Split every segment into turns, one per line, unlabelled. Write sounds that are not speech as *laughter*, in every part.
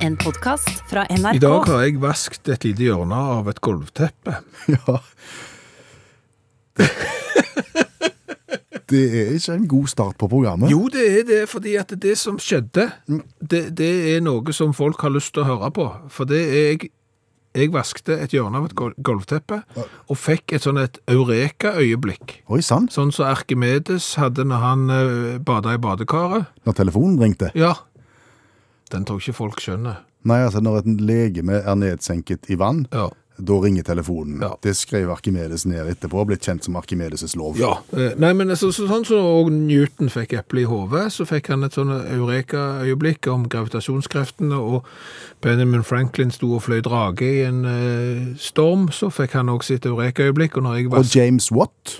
en podkast fra NRK.
I dag har jeg vaskt et lite hjørne av et gulvteppe.
Ja. Det, det er ikke en god start på programmet.
Jo, det er det, fordi at det som skjedde, det, det er noe som folk har lyst til å høre på. For det er jeg Jeg vaskte et hjørne av et gul- gulvteppe, og fikk et sånn et eureka-øyeblikk.
Oi sann,
Sånn som Arkimedes hadde når han eh, bada i badekaret.
når telefonen ringte.
Ja. Den tror jeg ikke folk skjønner.
Nei, altså når et legeme er nedsenket i vann,
Ja.
da ringer telefonen.
Ja.
Det skrev Arkimedes ned etterpå og ble kjent som Arkimedes' lov.
Eh, Nei, men altså, så, sånn som og Newton fikk eplet i hodet, så fikk han et sånn eureka-øyeblikk om gravitasjonskreftene, og Benjamin Franklin sto og fløy drage i en eh, storm, så fikk han også sitt eureka-øyeblikk, og når jeg
Og
var...
James Watt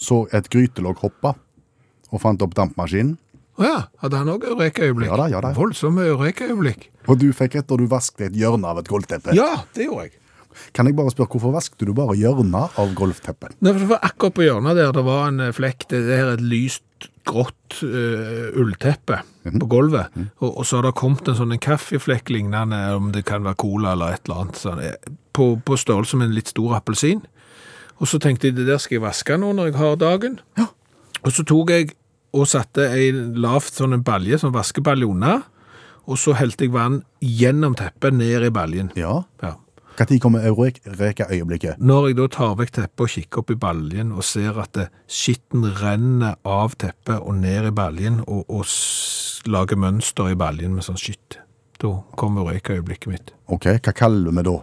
så et grytelokk hoppe og fant opp dampmaskinen.
Å ja, hadde han også eureka-øyeblikk?
Ja da, ja da.
Voldsomme eureka-øyeblikk.
Og du fikk rett når du vasket et hjørne av et gulvteppe.
Ja, det gjorde jeg.
Kan jeg bare spørre, hvorfor vasket du bare hjørnet av gulvteppet?
Nei, for det var akkurat på hjørnet der det var en eh, flekk, det det her er et lyst, grått eh, ullteppe på gulvet, og, og så har det kommet en sånn en kaffeflekk lignende, om det kan være cola eller et eller annet, sånn, eh, på, på størrelse med en litt stor appelsin. Og så tenkte jeg, det der skal jeg vaske nå når jeg har dagen.
Ja.
Og så tok jeg og satte en lavt sånn en balje, sånn vaskebalje unna, og så heldte jeg vann gjennom teppet ned i baljen.
Ja.
Ja.
Hva tid kommer Eureka-øyeblikket?
Når jeg da tar vekk teppet og kikker opp i baljen og ser at det- skitten renner av teppet og ned i baljen og, og s- lager mønster i baljen med sånn skitt, da kommer røykaøyeblikket mitt.
Ok, hva kaller vi da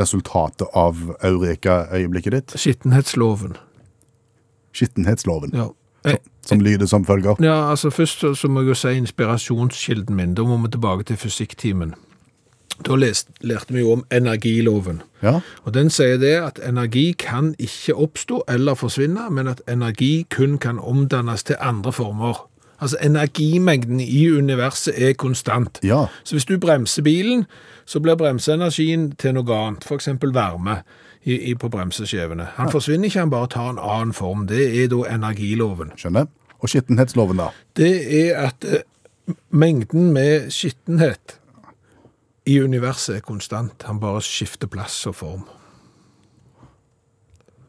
resultatet av Eureka-øyeblikket ditt?
Skittenhetsloven.
Skittenhetsloven,
Ja. Eh,
som lyder som følger.
ja, altså først så, så må jeg jo si inspirasjonskilden min. Da må vi tilbake til fysikktimen. Da lest, lærte vi jo om energiloven.
Ja,
Og den sier det at energi kan ikke oppstå eller forsvinne, men at energi kun kan omdannes til andre former. Altså energimengden i universet er konstant.
ja,
Så hvis du bremser bilen, så blir bremseenergien til noe annet, f.eks. varme i, i, på bremseskjevene. Han forsvinner ikke, han bare tar en annen form. Det er da energiloven.
skjønner. Og skittenhetsloven da?
Det er at eh, mengden med skittenhet i universet er konstant. Han bare skifter plass og form.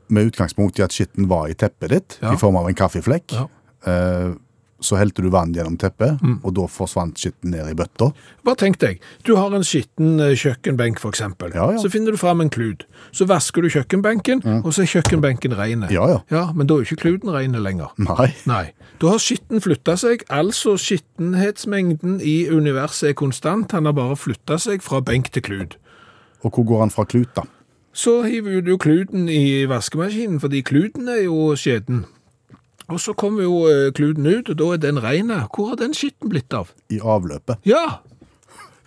Med utgangspunkt i at skitten var i teppet ditt,
Ja.
i form av en kaffeflekk,
Ja. Mm.
eh, så helte du vann gjennom teppet, og da forsvant skitten ned i bøtta.
Bare tenk deg, du har en skitten eh, kjøkkenbenk for eksempel.
Ja, ja.
Så finner du fram en klud. Så vasker du kjøkkenbenken, og så er kjøkkenbenken reine.
Ja, ja.
men da er jo ikke kluden reine lenger.
Nei.
Nei. Da har skitten flyttet seg, altså skittenhetsmengden i universet er konstant. Han har bare flyttet seg fra benk til klud.
Og hvor går han fra klut da?
Så hiver du kluden i vaskemaskinen, fordi kluden er jo skjeden. Og så kommer jo eh, kluden ut, og da er den reine. Hvor har den skitten blitt av?
I avløpet.
Ja!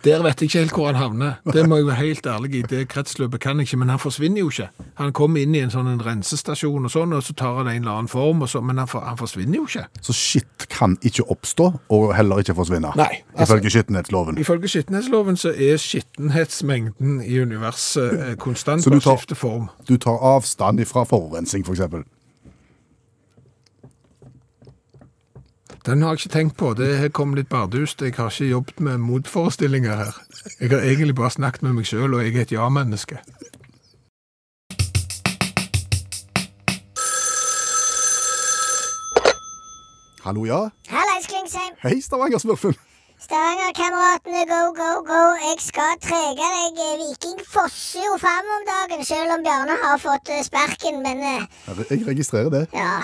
Der vet jeg ikke helt hvor han havner. Det må jeg være helt ærlig i. Det kretsløpet kan jeg ikke, men han forsvinner jo ikke. Han kommer inn i en sånn en rensestasjon og sånn, og så tar han en eller annen form, og så, men han, for, han forsvinner jo ikke.
Så skitt kan ikke oppstå, og heller ikke forsvinne.
Nei, altså-
Ifølge skittenhetsloven.
Ifølge skittenhetsloven så er skittenhetsmengden i universet eh, konstant
Så du
og
tar-
skifter form.
Du tar avstand fra forurensning, for eksempel.
Den har jeg ikke tenkt på. Det her kom litt bardust. Jeg har ikke jobbet med motforestillinger her. Jeg har egentlig bare snakket med meg sjøl, og jeg er et ja-menneske.
Hallo, ja?
Hallais, Klingsheim.
Hei, Stavanger-smurfen.
Stavangerkameratene, go, go, go. Jeg skal trege deg. eh, Viking fosser jo fram om dagen, selv om Bjarne har fått eh, sparken, men eh,
Jeg registrerer det.
ja.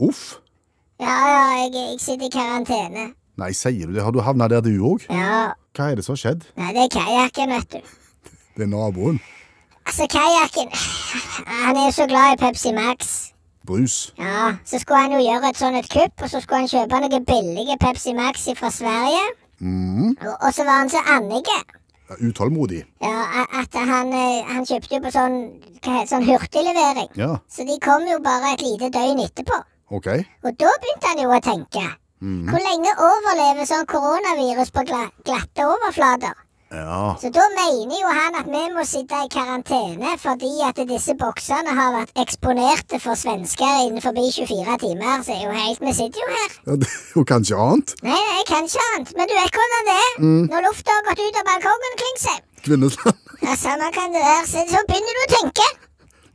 Uff.
Ja, ja, jeg, jeg sitter i karantene.
Nei, sier du det? Har du havna der, du òg?
Ja.
Hva er det som har skjedd?
Nei, det er kajakken, vet du.
Det er naboen.
Altså, kajakken *sighs* Han er jo så glad i Pepsi Max.
Brus.
Ja, så skulle han jo gjøre et sånn et kupp, og så skulle han kjøpe noen billige Pepsi Max fra Sverige. Og, og så var han så annige.
Ja, Utålmodig.
Ja, a- at han, eh, han kjøpte jo på sånn, hva heter, det, sånn hurtiglevering.
Ja,
Så de kom jo bare et lite døgn etterpå.
OK.
Og da begynte han jo å tenke. Hvor lenge overlever sånn koronavirus på gla glatte overflater?
Ja.
Så da mener jo han at vi må sitte i karantene fordi at disse boksene har vært eksponerte for svensker innenfor 24 timer. Så er jo helt Vi sitter jo her.
ja. Det er jo kanskje annet.
Nei, nei, jeg kan ikke annet. Men du vet hvordan det er når lufta har gått ut av balkongen, Klingsheim.
Kvinnesland.
Ja, samme kan det være. Så, så begynner du å tenke.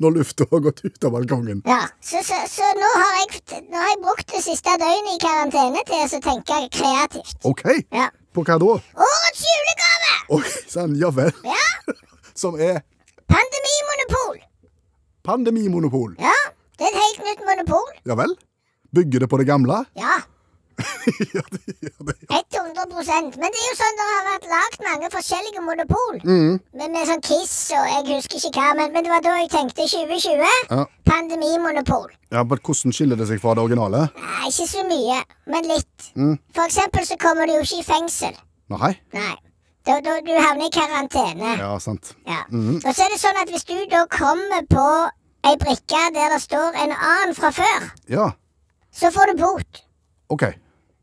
Når lufta har gått ut av balkongen.
Ja, Så, så, så nå, har jeg, nå har jeg brukt det siste døgnet i karantene til å tenke kreativt.
OK.
Ja.
På hva da?
Årets julegave!
Oi sann, ja vel.
Ja.
Som er
Pandemimonopol.
pandemimonopol.
Ja, det er et helt nytt monopol.
Ja vel? Bygger det på det gamle? *laughs*
Ja.
ja, det, ja, det.
100 Men det er jo sånn det har vært lagd mange forskjellige monopol. Med, med sånn Kiss og jeg husker ikke hva, men, men det var da jeg tenkte 2020.
Ja.
Pandemimonopol.
ja, men Hvordan skiller det seg fra det originale?
Nei, ikke så mye, men litt. For eksempel så kommer du jo ikke i fengsel.
Nei?
Nei. Da, da, du havner i karantene.
Ja, sant.
Ja. Og så er det sånn at hvis du da kommer på ei brikke der det står en annen fra før,
Ja,
så får du bot.
OK.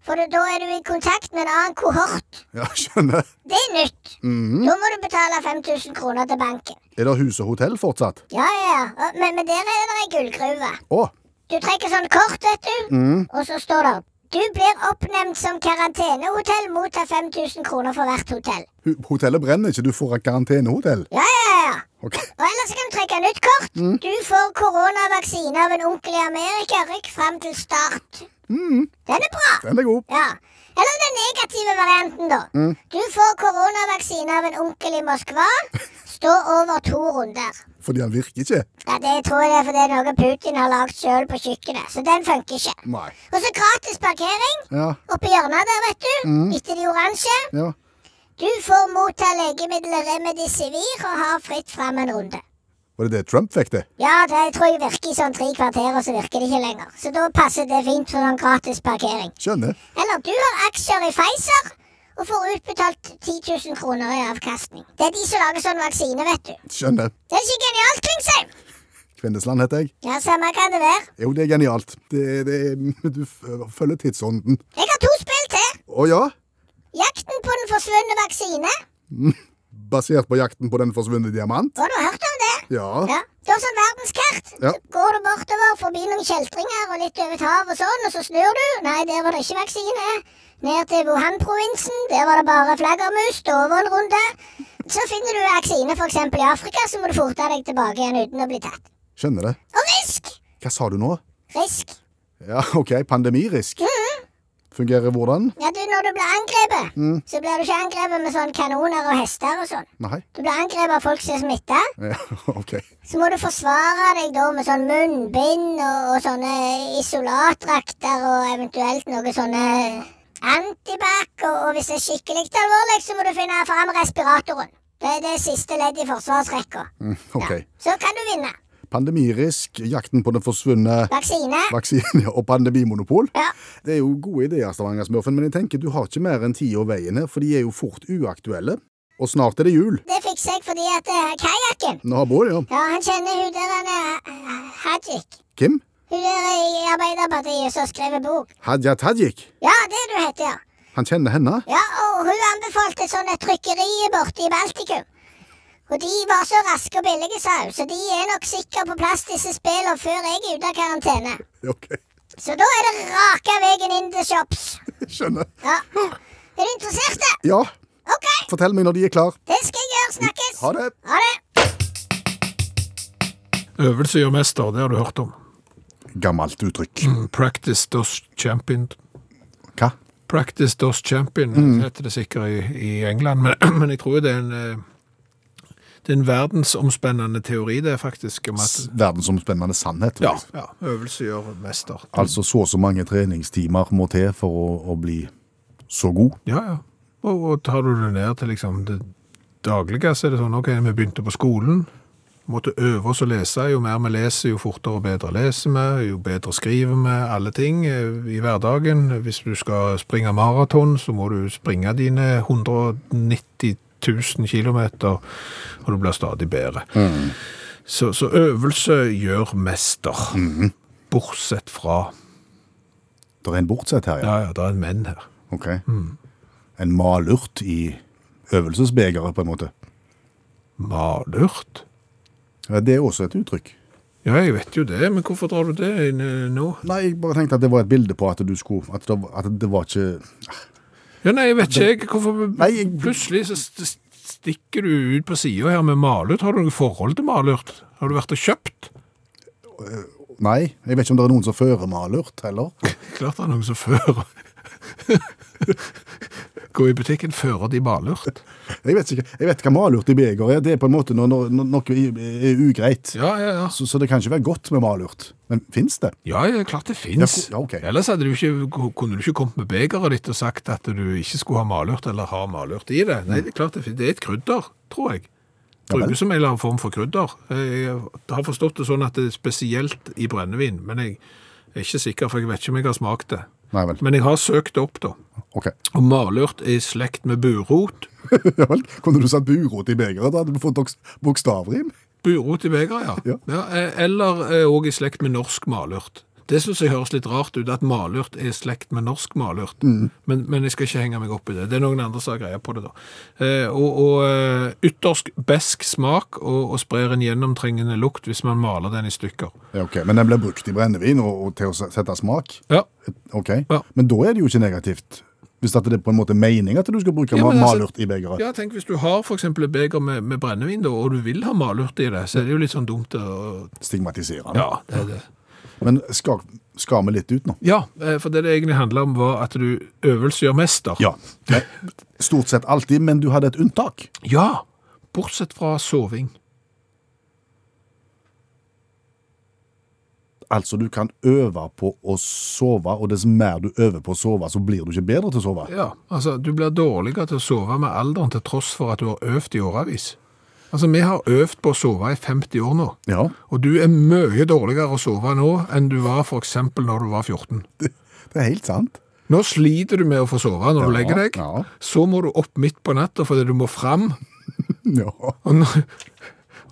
For da er du i kontakt med en annen kohort.
Ja, Skjønner.
Det er nytt. Da må du betale 5000 kroner til banken.
Er det hus og hotell fortsatt?
Ja, ja, ja. Og- Men, men der er det ei gullgruve.
Å,
Du trekker sånn kort, vet du, og så står det Du blir oppnevnt som karantenehotell, mottar 5000 kroner for hvert hotell.
hu- hotellet brenner ikke, du får et karantenehotell.
Ja, ja, ja, ja.
OK.
Og ellers kan du trekke nytt kort. Du får koronavaksine av en onkel i Amerika. Rykk fram til start. Den er bra.
Den er god.
Ja. Eller den negative varianten, da. Du får koronavaksine av en onkel i Moskva. Stå over to runder.
Fordi han virker ikke.
Ja, Det tror jeg er fordi det er noe Putin har lagd sjøl på kjøkkenet. Så den funker ikke.
Nei.
Og så gratis parkering
Ja.
oppi hjørnet der, vet du. Etter de oransje.
Ja.
Du får motta legemiddelet Remedisivir og har fritt fram en runde.
Var det det Trump fikk, det?
Ja, det tror jeg virker i sånn tre kvarter, og så virker det ikke lenger. Så da passer det fint for sånn gratis parkering.
Skjønner.
Eller du har aksjer i Pfizer og får utbetalt 10 000 kroner i avkastning. Det er de som lager sånn vaksine, vet du.
Skjønner.
Det er ikke genialt, Klingsheim?
Kvinnesland heter jeg.
Ja, samme kan det være.
Jo, det er genialt. Det, det, du f- følger tidsånden.
Jeg har to spill til.
Å ja?
Jakten på den forsvunne vaksine.
Basert på jakten på den forsvunne diamant?
Har du hørt om det?
Ja.
Ja. Det er sånn verdenskart.
Ja.
Så går du bortover forbi noen kjeltringer og litt over et hav og sånn, og så snur du. Nei, der var det ikke vaksine. Ned til Wuhan-provinsen. Der var det bare flaggermus. Da var en runde. Så finner du vaksine f.eks. i Afrika, så må du forte deg tilbake igjen uten å bli tatt.
Skjønner det.
Og risk!
Hva sa du nå?
Risk.
Ja, OK. Pandemirisk.
Mhm.
Fungerer hvordan?
Ja, du, når du blir angrepet,
Mm.
så blir du ikke angrepet med sånn kanoner og hester og sånn.
Nei.
Du blir angrepet av folk som er smitta.
Ja, *laughs* OK.
Så må du forsvare deg da med sånn munnbind og, og sånne isolatdrakter og eventuelt noe sånne antibac. Og, og hvis det er skikkelig alvorlig, så må du finne fram respiratoren. Det er det siste leddet i forsvarsrekka.
Mm, OK.
Så kan du vinne.
Pandemirisk, jakten på den forsvunne
Vaksine.
vaksinen og pandemimonopol.
Ja.
Det er jo gode ideer, Stavanger-smurfen, men jeg tenker du har ikke mer enn ti år veien her, for de er jo fort uaktuelle. Og snart er det jul.
Det fikser jeg fordi at eh, kajakken
Naboer, ja.
Ja, han kjenner hun der han er eh, Hajik.
Kim?
Hun der i Arbeiderpartiet som skriver bok.
Hadia Tajik.
Ja, det du heter, ja.
Han kjenner henne.
Ja, og hun anbefalte sånn et trykkeri borte i Baltikum. Og de var så raske og billige, sa hun, så de er nok sikkert på plass, disse spillene, før jeg er ute av karantene.
*laughs* Ok,
Så da er det raka veien inn til shops.
skjønner.
Ja. Er du interessert? da?
Ja,
OK,
fortell meg når de er klar.
det skal jeg gjøre. Snakkes.
Ha det.
Ha det.
Øvelse gjør mester, det har du hørt om.
Gammelt uttrykk.
Practice does champion.
Hva?
Practice does champion heter det sikkert i, i England, men, men *clears throat* jeg tror det er en eh, det er en verdensomspennende teori, det er faktisk. Om at,
S- Verdensomspennende sannhet. vil
ja,
jeg si.
ja, øvelse gjør mester.
Altså så og så mange treningstimer må til for å, å bli så god.
Ja, ja. Og, og tar du det ned til liksom det daglige, så er det sånn OK, vi begynte på skolen. Måtte øve oss å lese. Jo mer vi leser, jo fortere og bedre leser vi. Jo bedre skriver vi. Alle ting eh, i hverdagen. Hvis du skal springe maraton, så må du springe dine 190 000 km, og du blir stadig bedre. Så, så øvelse gjør mester. Bortsett fra
Det er en bortsett her, ja. Mm.
Ja, ja, det er en menn her.
Ok. En malurt i øvelsesbegeret, på en måte.
Malurt?
Ja, Det er også et uttrykk.
Ja, jeg vet jo det, men hvorfor drar du det inn eh, nå?
Nei, jeg bare tenkte at det var et bilde på at du skulle At det, at det var ikke
Ja, nei, jeg vet ikke jeg. Hvorfor
Nei, jeg-
plutselig så st- st- stikker du ut på sida her med malurt? Har du noe forhold til malurt? Har du vært og kjøpt?
Nei, jeg vet ikke om det er noen som fører malurt heller.
Klart det er noen som fører *laughs* Gå i butikken, fører de malurt?
Jeg vet ikke, jeg vet hva malurt i beger er. Det er på en måte når, når, når noe i- er ugreit.
Ja, ja, ja.
Så, så det kan ikke være godt med malurt. Men fins det?
Ja, ja, klart det fins.
Ja, ko- ja, ok.
Ellers hadde du ikke, kunne du ikke kommet med begeret ditt og sagt at du ikke skulle ha malurt eller ha malurt i det. Nei, det er klart det fins. Det er et krydder, tror jeg.
Ja vel.
Brukes som en eller annen form for krydder. Jeg har forstått det sånn at det er spesielt i brennevin, men jeg er ikke sikker, for jeg vet ikke om jeg har smakt det.
Nei vel.
Men jeg har søkt det opp, da.
Ok. *laughs*
Og malurt er i slekt med burot.
Ja vel. Kunne du satt burot i begeret? Da hadde du fått boks- bokstavrim.
Burot i begeret, ja.
Ja.
eh, eller òg i slekt med norsk malurt. Det syns jeg høres litt rart ut, at malurt er i slekt med norsk malurt. Men, men jeg skal ikke henge meg opp i det. Det er noen andre som har greie på det, da. Eh, og og eh, ytterst besk smak og, og sprer en gjennomtrengende lukt hvis man maler den i stykker.
Ja, ok. Men den blir brukt i brennevin og, og til å s- sette smak.
Ja.
Ok.
Ja.
Men da er det jo ikke negativt. Hvis at det er på en måte mening at du skal bruke
Ja,
ma-
men altså-
malurt i begeret.
ja, tenk hvis du har f.eks. et beger med, med brennevin, da, og du vil ha malurt i det, så er det jo litt sånn dumt å
Stigmatiserende.
Ja, det er det.
Men skal, skal vi litt ut nå?
Ja, eh, for det det egentlig handler om, var at du øvelse gjør mester.
Ja. Stort sett alltid, men du hadde et unntak.
Ja, bortsett fra soving.
Altså, du kan øve på å sove, og dess mer du øver på å sove, så blir du ikke bedre til å sove.
Ja, altså Du blir dårligere til å sove med alderen til tross for at du har øvd i årevis. Altså, Vi har øvd på å sove i 50 år nå,
Ja,
og du er mye dårligere å sove nå enn du var f.eks. når du var 14.
det er helt sant.
Nå sliter du med å få sove når du
Ja,
legger deg.
ja.
Så må du opp midt på natta fordi du må fram.
Ja.
Og når,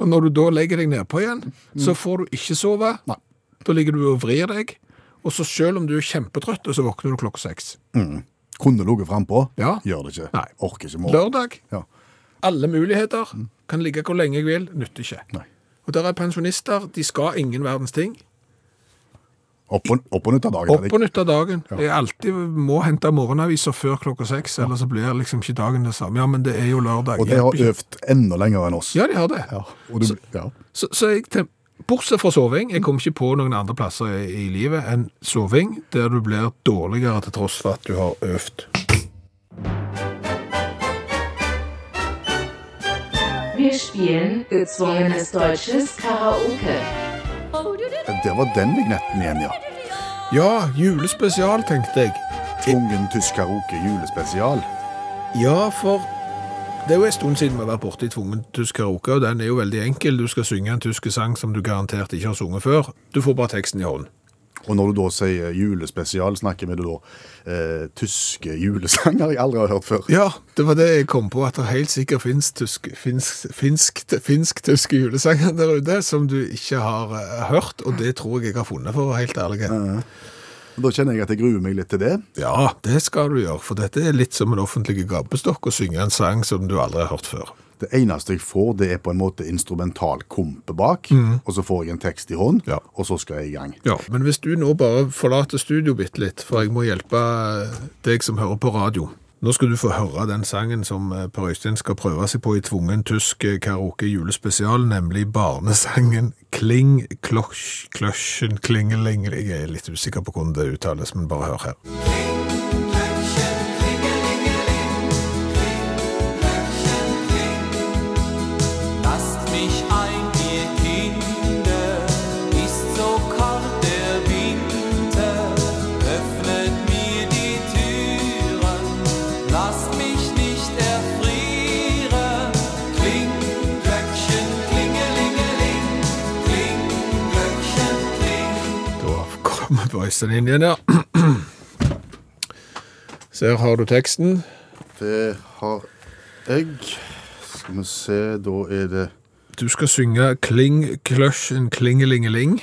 og når du da legger deg nedpå igjen, så får du ikke sove.
Nei.
Da ligger du og vrir deg. Og så selv om du er kjempetrøtt, så våkner du klokka seks.
Kunne ligget frampå.
Ja.
Gjør det ikke.
Nei.
Orker ikke morgen.
Lørdag.
Ja.
Alle muligheter. Kan ligge hvor lenge jeg vil. Nytter ikke.
Nei.
Og der er pensjonister. De skal ingen verdens ting.
Opp og, opp og nytt av dagen.
Opp
Erik.
og nytt av dagen. Jeg alltid må hente morgenaviser før klokka seks, ellers så blir liksom ikke dagen det samme. Ja, men det er jo lørdag.
Og de
Hjelper
har
ikke.
øvd enda lenger enn oss.
Ja, de har det.
Ja, og du, ja.
Så, så jeg tenkte, bortsett fra soving, jeg kom ikke på noen andre plasser i, i livet enn soving, der du blir dårligere til tross for at du har øvd.
Wir spielen gezwungenes deutsches Karaoke.
Det var den vignetten igjen, ja.
Ja, julespesial, tenkte jeg.
Tvungen tysk karaoke julespesial.
Ja, for det er jo en stund siden vi har vært borte i tvungen tysk karaoke, og den er jo veldig enkel. Du skal synge en tysk sang som du garantert ikke har sunget før. Du får bare teksten i hånden.
Og når du da sier julespesial, snakker vi da eh, tyske julesanger jeg aldri har hørt før.
Ja, det var det jeg kom på, at det helt sikkert finnes tysk, finsk, finsk, finsk-tyske julesanger der ute som du ikke har eh, hørt, og det tror jeg jeg har funnet, for å være helt ærlig.
Og Da kjenner jeg at jeg gruer meg litt til det.
Ja, det skal du gjøre, for dette er litt som en offentlig gapestokk å synge en sang som du aldri har hørt før.
Det eneste jeg får, det er på en måte instrumental kompe bak, og så får jeg en tekst i hånd,
Ja.
og så skal jeg i gang.
Ja, Men hvis du nå bare forlater studio bitte litt, for jeg må hjelpe deg som hører på radio. Nå skal du få høre den sangen som eh, Per Øystein skal prøve seg på i tvungen tysk eh, karaoke julespesial, nemlig barnesangen Kling klosj, kløsjen klingeling. Jeg er litt usikker på hvordan det uttales, men bare hør her.
Lasst mich ein, ihr Kinder, ist so kalt der Winter. Öffnet mir die Türen, lasst mich nicht erfrieren. Kling, Glöckchen, klingelingeling, kling, Glöckchen, kling.
Da kommer Øystein inn igjen, ja. *clears throat* Så her har du teksten.
Det har jeg. Skal vi se, da er det
Du skal synge Kling kløsj en klingelingeling.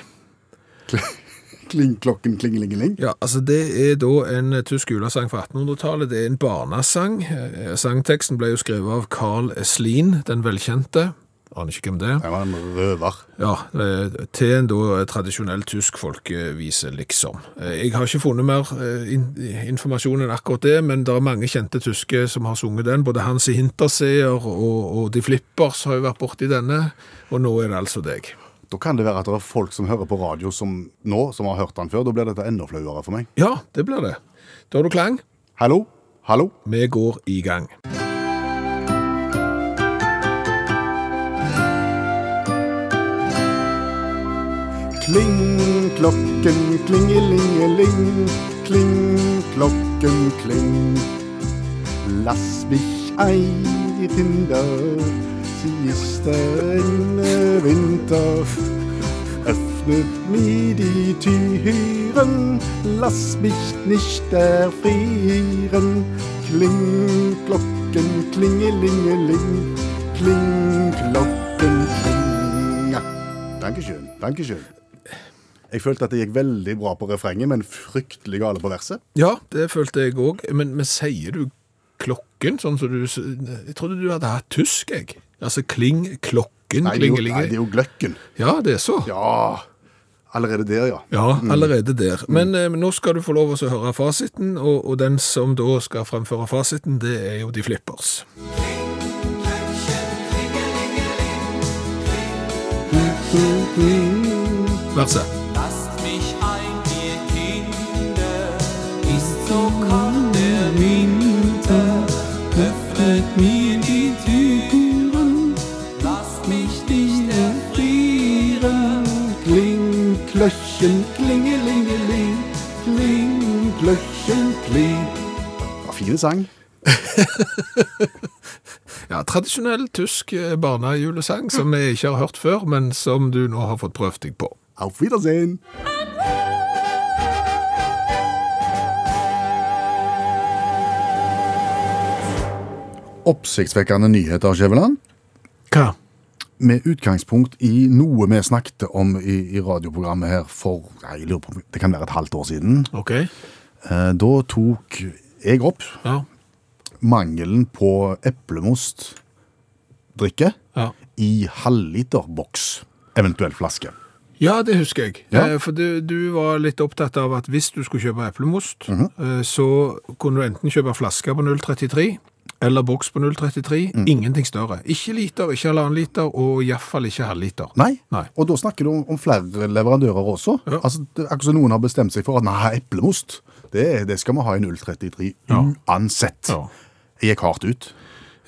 Klingklokken, klingelingeling.
Ja, altså Det er da en eh, tysk julesang fra 1800-tallet. Det er en barnesang. Eh, Sangteksten ble jo skrevet av Carl Eslin, den velkjente. Aner ikke hvem det er.
Det var en røver.
Ja, eh, Til en da tradisjonell tysk folkevise, liksom. Eh, Jeg har ikke funnet mer eh, in informasjon enn akkurat det, men det er mange kjente tyske som har sunget den. Både Hansi Hinterseer og, og De Flippers har jo vært borti denne, og nå er det altså deg.
Da kan det være at det er folk som hører på radio som nå, som har hørt den før. Da blir dette enda flauere for meg.
Ja, det blir det. Da har du klang.
Hallo? Hallo?
Vi går i gang.
Kling, klokken, klingelingeling. Kling, klokken, kling. Lass mich ein, die Kinder. Sie ist eine Winter. Öffnet mir die Türen, lass mich nicht erfrieren. Kling, Glocken, klingelingeling. Kling, Glocken, kling. Ja. Dankeschön, dankeschön. Jeg følte at det gikk veldig bra på refrenget, men fryktelig gale på verset.
Ja, det følte jeg òg. Men, men sier du klokken sånn som du s- Jeg trodde du hadde hatt tysk, jeg. Altså kling, klokken,
Nei, det er jo, nei,
klingelinge.
det er jo gløkken.
Ja, det er så. Ja,
Ja, Mm. allerede der, ja.
allerede der. Men eh, nå skal du få lov å høre fasiten, og, og den som da skal fremføre fasiten, det er jo De Flippers. Verset.
Lasst mich ein, ihr Kinder, ist so kalt der Winter. Öffnet mir die Türen, lasst mich nicht erfrieren.
Kling, kløkken, klingelingeling. Kling, kløkken, kling. Ja, Fine sang.
Ja, tradisjonell tysk eh, barnejulesang som vi ikke har hørt før, men som du nå har fått prøvd deg på.
Auf Wiedersehen. Oppsiktsvekkende nyheter, Skjæveland.
Hva?
Med utgangspunkt i noe vi snakket om i, i radioprogrammet her for nei, jeg lurer på, om Det kan være et halvt år siden.
Ok.
Eh, da tok jeg opp
Ja.
mangelen på eplemostdrikke
Ja.
i halvliterboks, eventuelt flaske.
Ja, det husker jeg.
Ja.
Eh, For du, du var litt opptatt av at hvis du skulle kjøpe eplemost,
Mhm.
eh, så kunne du enten kjøpe flasker på 0,33 eller boks på 0,33.
Mm.
Ingenting større. Ikke liter, ikke halvannen liter, og iallfall ikke halvliter.
Nei.
Nei.
Og da snakker du om, om flere leverandører også.
Ja.
Altså, det, er akkurat som noen har bestemt seg for at nei, eplemost, det, det skal vi ha i 033
Ja.
uansett.
Ja.
Jeg gikk hardt ut.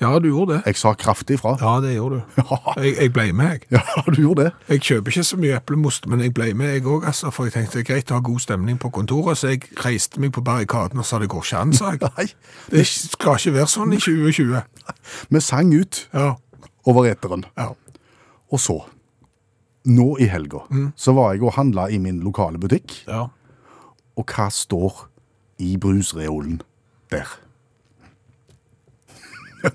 Ja, du gjorde det.
Jeg sa kraftig fra. *laughs*
Ja, det gjorde du.
Ja.
Jeg, jeg ble med, jeg.
du gjorde det.
Jeg kjøper ikke så mye eplemost, men jeg ble med, jeg òg, altså. For jeg tenkte det er greit å ha god stemning på kontoret, så jeg reiste meg på barrikaden og sa det går ikke an, sa jeg.
*laughs* Nei.
Det skal ikke være sånn i 2020.
Vi sang ut
Ja.
over eteren.
ja.
Og så, nå i helga,
Mm.
så var jeg og handla i min lokale butikk,
ja.
og hva står i brusreolen der? *laughs*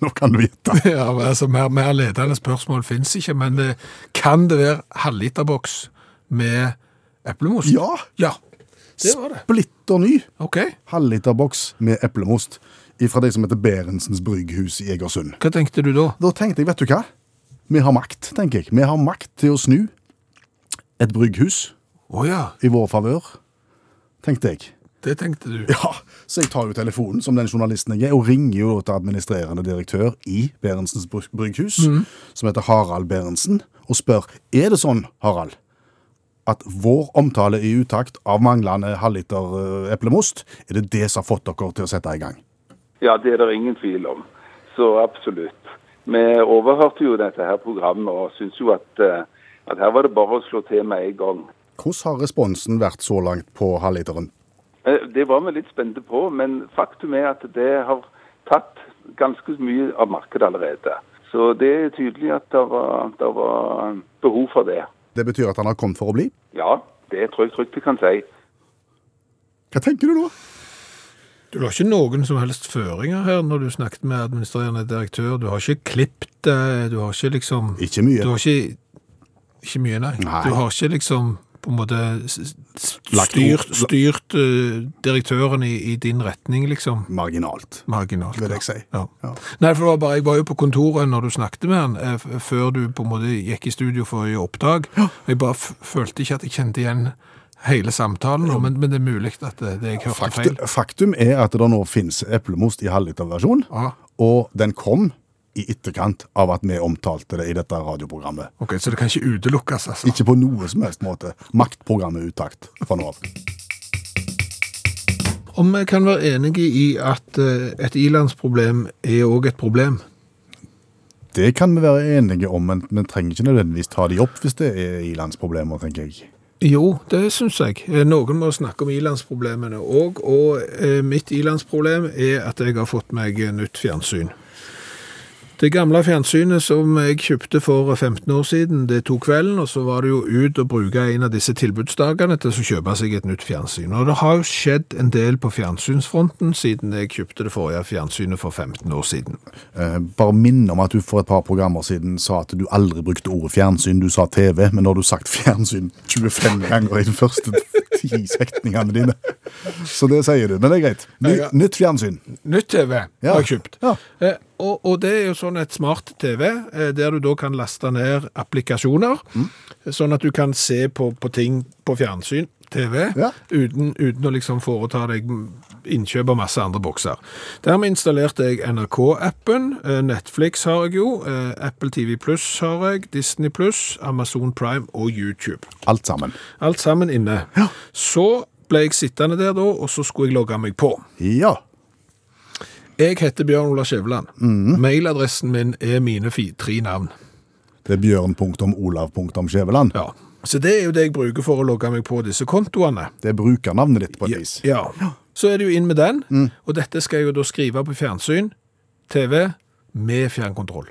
Nå kan du gjette.
*laughs* Ja, men altså, mer, mer ledende spørsmål finnes ikke, men det, kan det være halvliterboks med eplemost?
Ja!
Ja, det var det.
Splitter ny.
Ok,
halvliterboks med eplemost fra de som heter Berentsens Brygghus i Egersund.
hva tenkte du da?
Da tenkte jeg, vet du hva? Vi har makt, tenker jeg. Vi har makt til å snu et brygghus
Åja,
i vår favør, tenkte jeg.
det tenkte du.
Ja, Så jeg tar jo telefonen som den journalisten jeg er, og ringer jo til administrerende direktør i Berentsens Bryg- brygghus, som heter Harald Berentsen, og spør er det sånn, Harald, at vår omtale i utakt av manglende halvliter eh, eplemost, er det det som har fått dere til å sette i gang?
Ja, det er det ingen tvil om. Så absolutt. Vi overhørte jo dette her programmet og syntes jo at, eh, at her var det bare å slå til med en gang.
Hvordan har responsen vært så langt på halvliteren?
Eh, Det var vi litt spente på, men faktum er at det har tatt ganske mye av markedet allerede. Så det er tydelig at det var, det var behov for det.
Det betyr at han har kommet for å bli.
Ja, det tror jeg trygt vi kan si.
Hva tenker du nå?
Du la ikke noen som helst føringer her når du snakket med administrerende direktør. Du har ikke klippet det, du har ikke liksom...
Ikke mye.
Du har ikke... Ikke mye, nei.
Nei.
Du har ikke liksom på en måte s- s-
Lagt
styrt,
ord-
styrt eh, direktøren i, i din retning, liksom.
Marginalt.
Marginalt.
Vil jeg
ja.
si.
Ja.
Ja.
Nei, for det var bare, jeg var jo på kontoret når du snakket med han, eh, f- før du på en måte gikk i studio for å gjøre oppdrag. Jeg bare f følte ikke at jeg kjente igjen hele samtalen, nå, men, men det er mulig at det, det jeg hørte
Faktum,
feil.
faktum er at det nå finnes eplemost i halvliterversjon,
Ja.
og den kom i etterkant av at vi omtalte det i dette radioprogrammet.
Ok, så det kan ikke utelukkes, altså.
Ikke på noe som helst måte. Maktprogrammet uttakt fra nå av.
Om vi kan være enige i at eh, et ilandsproblem er òg et problem.
Det kan vi være enige om, men vi trenger ikke nødvendigvis ta de opp hvis det er ilandsproblemer, tenker jeg.
Jo, det syns jeg. Eh, Noen må snakke om ilandsproblemene òg. Og eh, mitt ilandsproblem er at jeg har fått meg eh, nytt fjernsyn. Det gamle fjernsynet som jeg kjøpte for 15 år siden, det tok kvelden, og så var det jo ut og bruke en av disse tilbudsdagene til å kjøpe seg et nytt fjernsyn. Og det har jo skjedd en del på fjernsynsfronten siden jeg kjøpte det forrige fjernsynet for 15 år siden.
Eh, bare minn om at du for et par programmer siden sa at du aldri brukte ordet fjernsyn, du sa TV, men nå har du sagt fjernsyn 25 ganger i de første ti setningene dine. Så det sier du, men det er greit. Ny,
Ja, ja.
nytt fjernsyn.
Nytt TV
Ja.
har jeg kjøpt.
Ja.
Eh, og, og det er jo sånn et smart TV, eh, der du da kan laste ned applikasjoner,
Mm.
sånn at du kan se på, på ting på fjernsyn, TV,
Ja.
uten, uten å liksom foreta deg innkjøp av masse andre bokser. Dermed installerte jeg NRK-appen, eh, Netflix har jeg jo, eh, Apple TV Plus har jeg, Disney Plus, Amazon Prime og YouTube.
Alt sammen.
Alt sammen inne. Så ble jeg sittende der da, og så skulle jeg logge meg på.
Ja.
Jeg heter Bjørn Ola Skjæveland. Mailadressen min er mine fi- tre navn.
Det er bjørn.olav.skjæveland.
Ja. Så det er jo det jeg bruker for å logge meg på disse kontoene.
Det er brukernavnet ditt på et vis.
Ja. Så er det jo inn med den, og dette skal jeg jo da skrive på fjernsyn, TV, med fjernkontroll.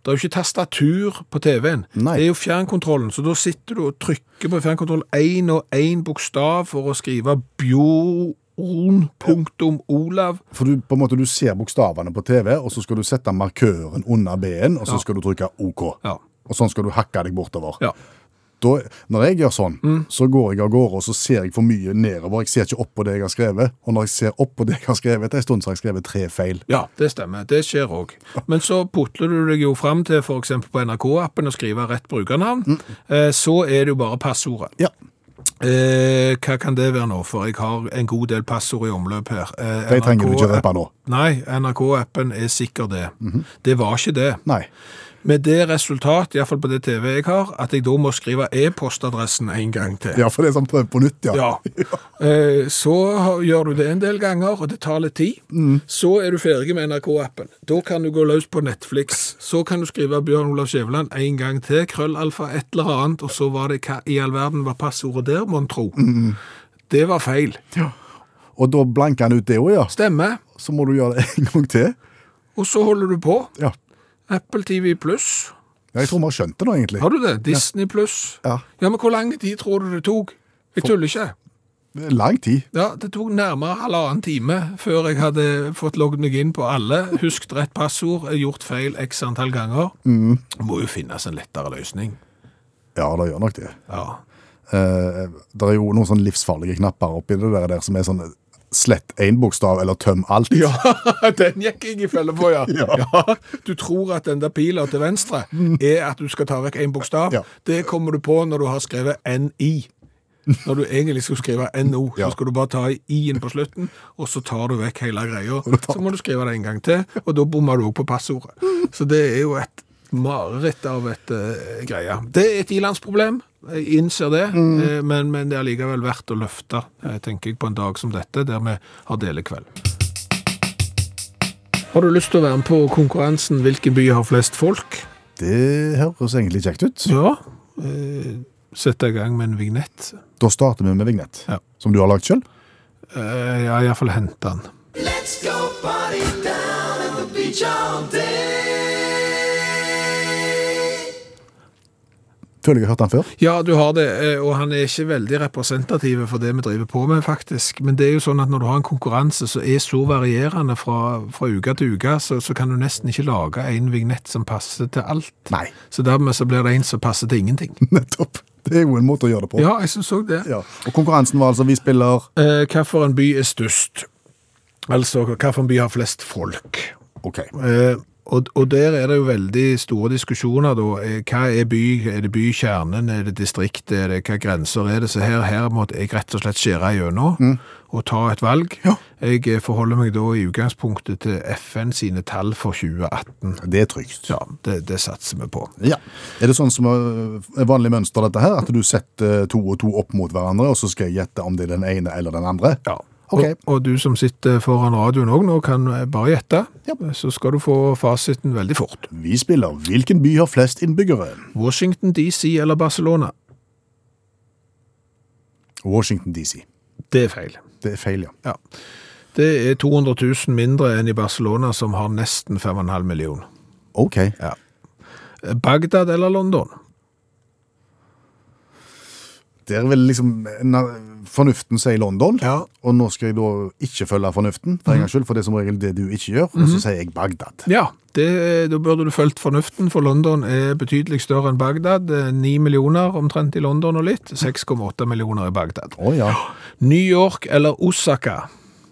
Det er jo ikke tastatur på TV-en.
Nei.
Det er jo fjernkontrollen, så da sitter du og trykker på fjernkontroll én og én bokstav for å skrive Bjorn punktum Olav.
For du, på en måte, du ser bokstavene på TV, og så skal du sette markøren under B-en, og så
Ja.
skal du trykke OK.
Ja.
Og sånn skal du hakke deg bortover.
ja. Mm.
Da, når jeg gjør sånn, så går jeg av gårde, og så ser jeg for mye nedover. Jeg ser ikke opp på det jeg har skrevet. Og når jeg ser opp på det jeg har skrevet, etter en stund så har jeg skrevet tre feil.
Ja, det stemmer. Det skjer òg. Men så putler du deg jo fram til f.eks. på NRK-appen og skriver rett brukernavn. Eh, Så er det jo bare passordet.
Ja,
Eh, hva kan det være nå, for jeg har en god del passord i omløp her. Eh,
De trenger du ikke
NRK
røpe nå. Mhm.
Nei, NRK-appen er sikker det. Det var ikke det.
Nei.
Med det resultat, iallfall på det TV jeg har, at jeg da må skrive e-postadressen en gang til.
Ja, for det er sånn prøv på nytt, ja.
Ja. *laughs* Eh, Så har- gjør du det en del ganger, og det tar litt tid. Så er du ferdig med NRK-appen. Da kan du gå løs på Netflix. Så kan du skrive Bjørn Olav Skjæveland en gang til, krøllalfa et eller annet, og så var det hva i all verden var passordet der, mon tro. Det var feil.
*laughs* Og da blanker han ut det òg, ja.
Stemmer.
Så må du gjøre det en gang til.
Og så holder du på.
Ja.
Apple TV pluss.
ja jeg tror vi har skjønt det nå, egentlig.
Har du det? Disney pluss.
Ja.
ja, men hvor lang tid tror du det tok? Jeg tuller ikke.
Det er Lang tid.
Ja, det tok nærmere halvannen time før jeg hadde fått logget meg inn på alle, husket rett passord, gjort feil x antall ganger. Det Må jo finnes en lettere løsning.
Ja, det gjør nok det.
Ja.
Eh, det er jo noen sånn livsfarlige knapper oppi det der, der som er sånn slett én bokstav eller tøm alt.
ja, *laughs* den gikk jeg i felle på, ja. ja. Du tror at den der pila til venstre er at du skal ta vekk en bokstav.
Ja.
Det kommer du på når du har skrevet NI. Når du egentlig skulle skrive NO, så
Ja.
skal du bare ta i i-en på slutten, og så tar du vekk hele greia.
du tar-
Så må du skrive det en gang til, og da bommer du òg på passordet. Så det er jo et mareritt av et eh, greie. Det er et ilandsproblem, jeg innser det,
Mm.
eh, men, men det er likevel verdt å løfte, eh, tenker jeg, på en dag som dette, der vi har delekveld. Har du lyst til å være med på konkurransen 'Hvilken by har flest folk'?
Det høres egentlig kjekt ut.
Ja. Eh, Sette i gang med en vignett.
Da starter vi med vignett,
Ja.
som du har lagd sjøl.
Eh, ja, iallfall hente den.
Let's go party down at the beach all day.
Føler jeg har hørt den før.
Ja, du har det, eh, og han er ikke veldig representativ for det vi driver på med, faktisk. Men det er jo sånn at når du har en konkurranse som er så varierende fra, fra uke til uke, så, så kan du nesten ikke lage en vignett som passer til alt.
Nei.
*laughs* Så dermed så blir det en som passer til ingenting.
*laughs* Nettopp. Det er jo en måte å gjøre det på.
Ja, jeg syns òg det.
Ja. Og konkurransen var altså vi spiller
Eh, Hvilken by er størst? Altså hvilken by har flest folk?
OK.
Eh, og, og der er det jo veldig store diskusjoner, da. Eh, Hva er by? Er det bykjernen? Er det distrikt? Er det, hva grenser er det? Så her, her måtte jeg rett og slett skjære gjennom og ta et valg.
Mm. Ja.
Jeg eh, forholder meg da i utgangspunktet til FN sine tall for 2018.
Det er trygt.
Ja, det, det satser vi på.
Ja. Er det sånn som øh, er vanlig mønster dette her, at du setter eh, to og to opp mot hverandre, og så skal jeg gjette om det er den ene eller den andre?
Ja.
Ok.
Og, og du som sitter foran radioen òg nå, kan eh, bare gjette.
Ja.
Så skal du få fasiten veldig fort.
Vi spiller Hvilken by har flest innbyggere?
Washington DC eller Barcelona?
Washington DC.
Det er feil.
Det er feil, ja.
Ja. Det er 200 000 mindre enn i Barcelona, som har nesten 5,5 millioner.
OK.
Bagdad eller London?
Der vil liksom na- fornuften si London,
Ja.
og nå skal jeg da ikke følge fornuften, for en gangs skyld, for det er som regel det du ikke gjør, og så sier jeg Bagdad.
Ja, det, da burde du fulgt fornuften, for London er betydelig større enn Bagdad. Eh, 9 millioner omtrent i London og litt. 6,8 millioner i Bagdad.
Å ja.
New York eller Osaka?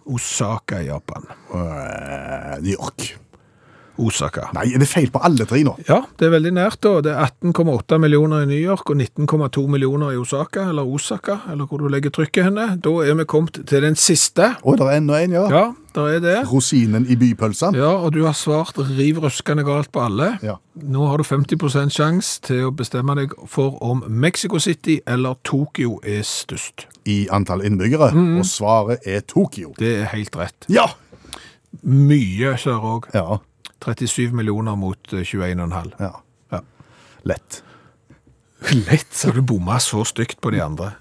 Osaka i Japan.
Eh, New York.
Osaka.
Nei, er det feil på alle tre nå?
Ja, det er veldig nært da. Det er 18,8 millioner i New York og 19,2 millioner i Osaka, eller Osaka, eller hvor du legger trykket henne. Da er vi kommet til den siste.
Å, det er enda en, ja.
Ja, der er det.
Rosinen i bypølsa.
Ja, og du har svart riv ruskende galt på alle.
Ja.
Nå har du 50 sjanse til å bestemme deg for om Mexico City eller Tokyo er størst.
I antall innbyggere, og svaret er Tokyo.
Det er helt rett.
Ja!
Mye sør òg.
Ja,
37 millioner mot eh, 21,5.
ja.
Ja.
Lett.
Lett, så du bomma så stygt på de andre.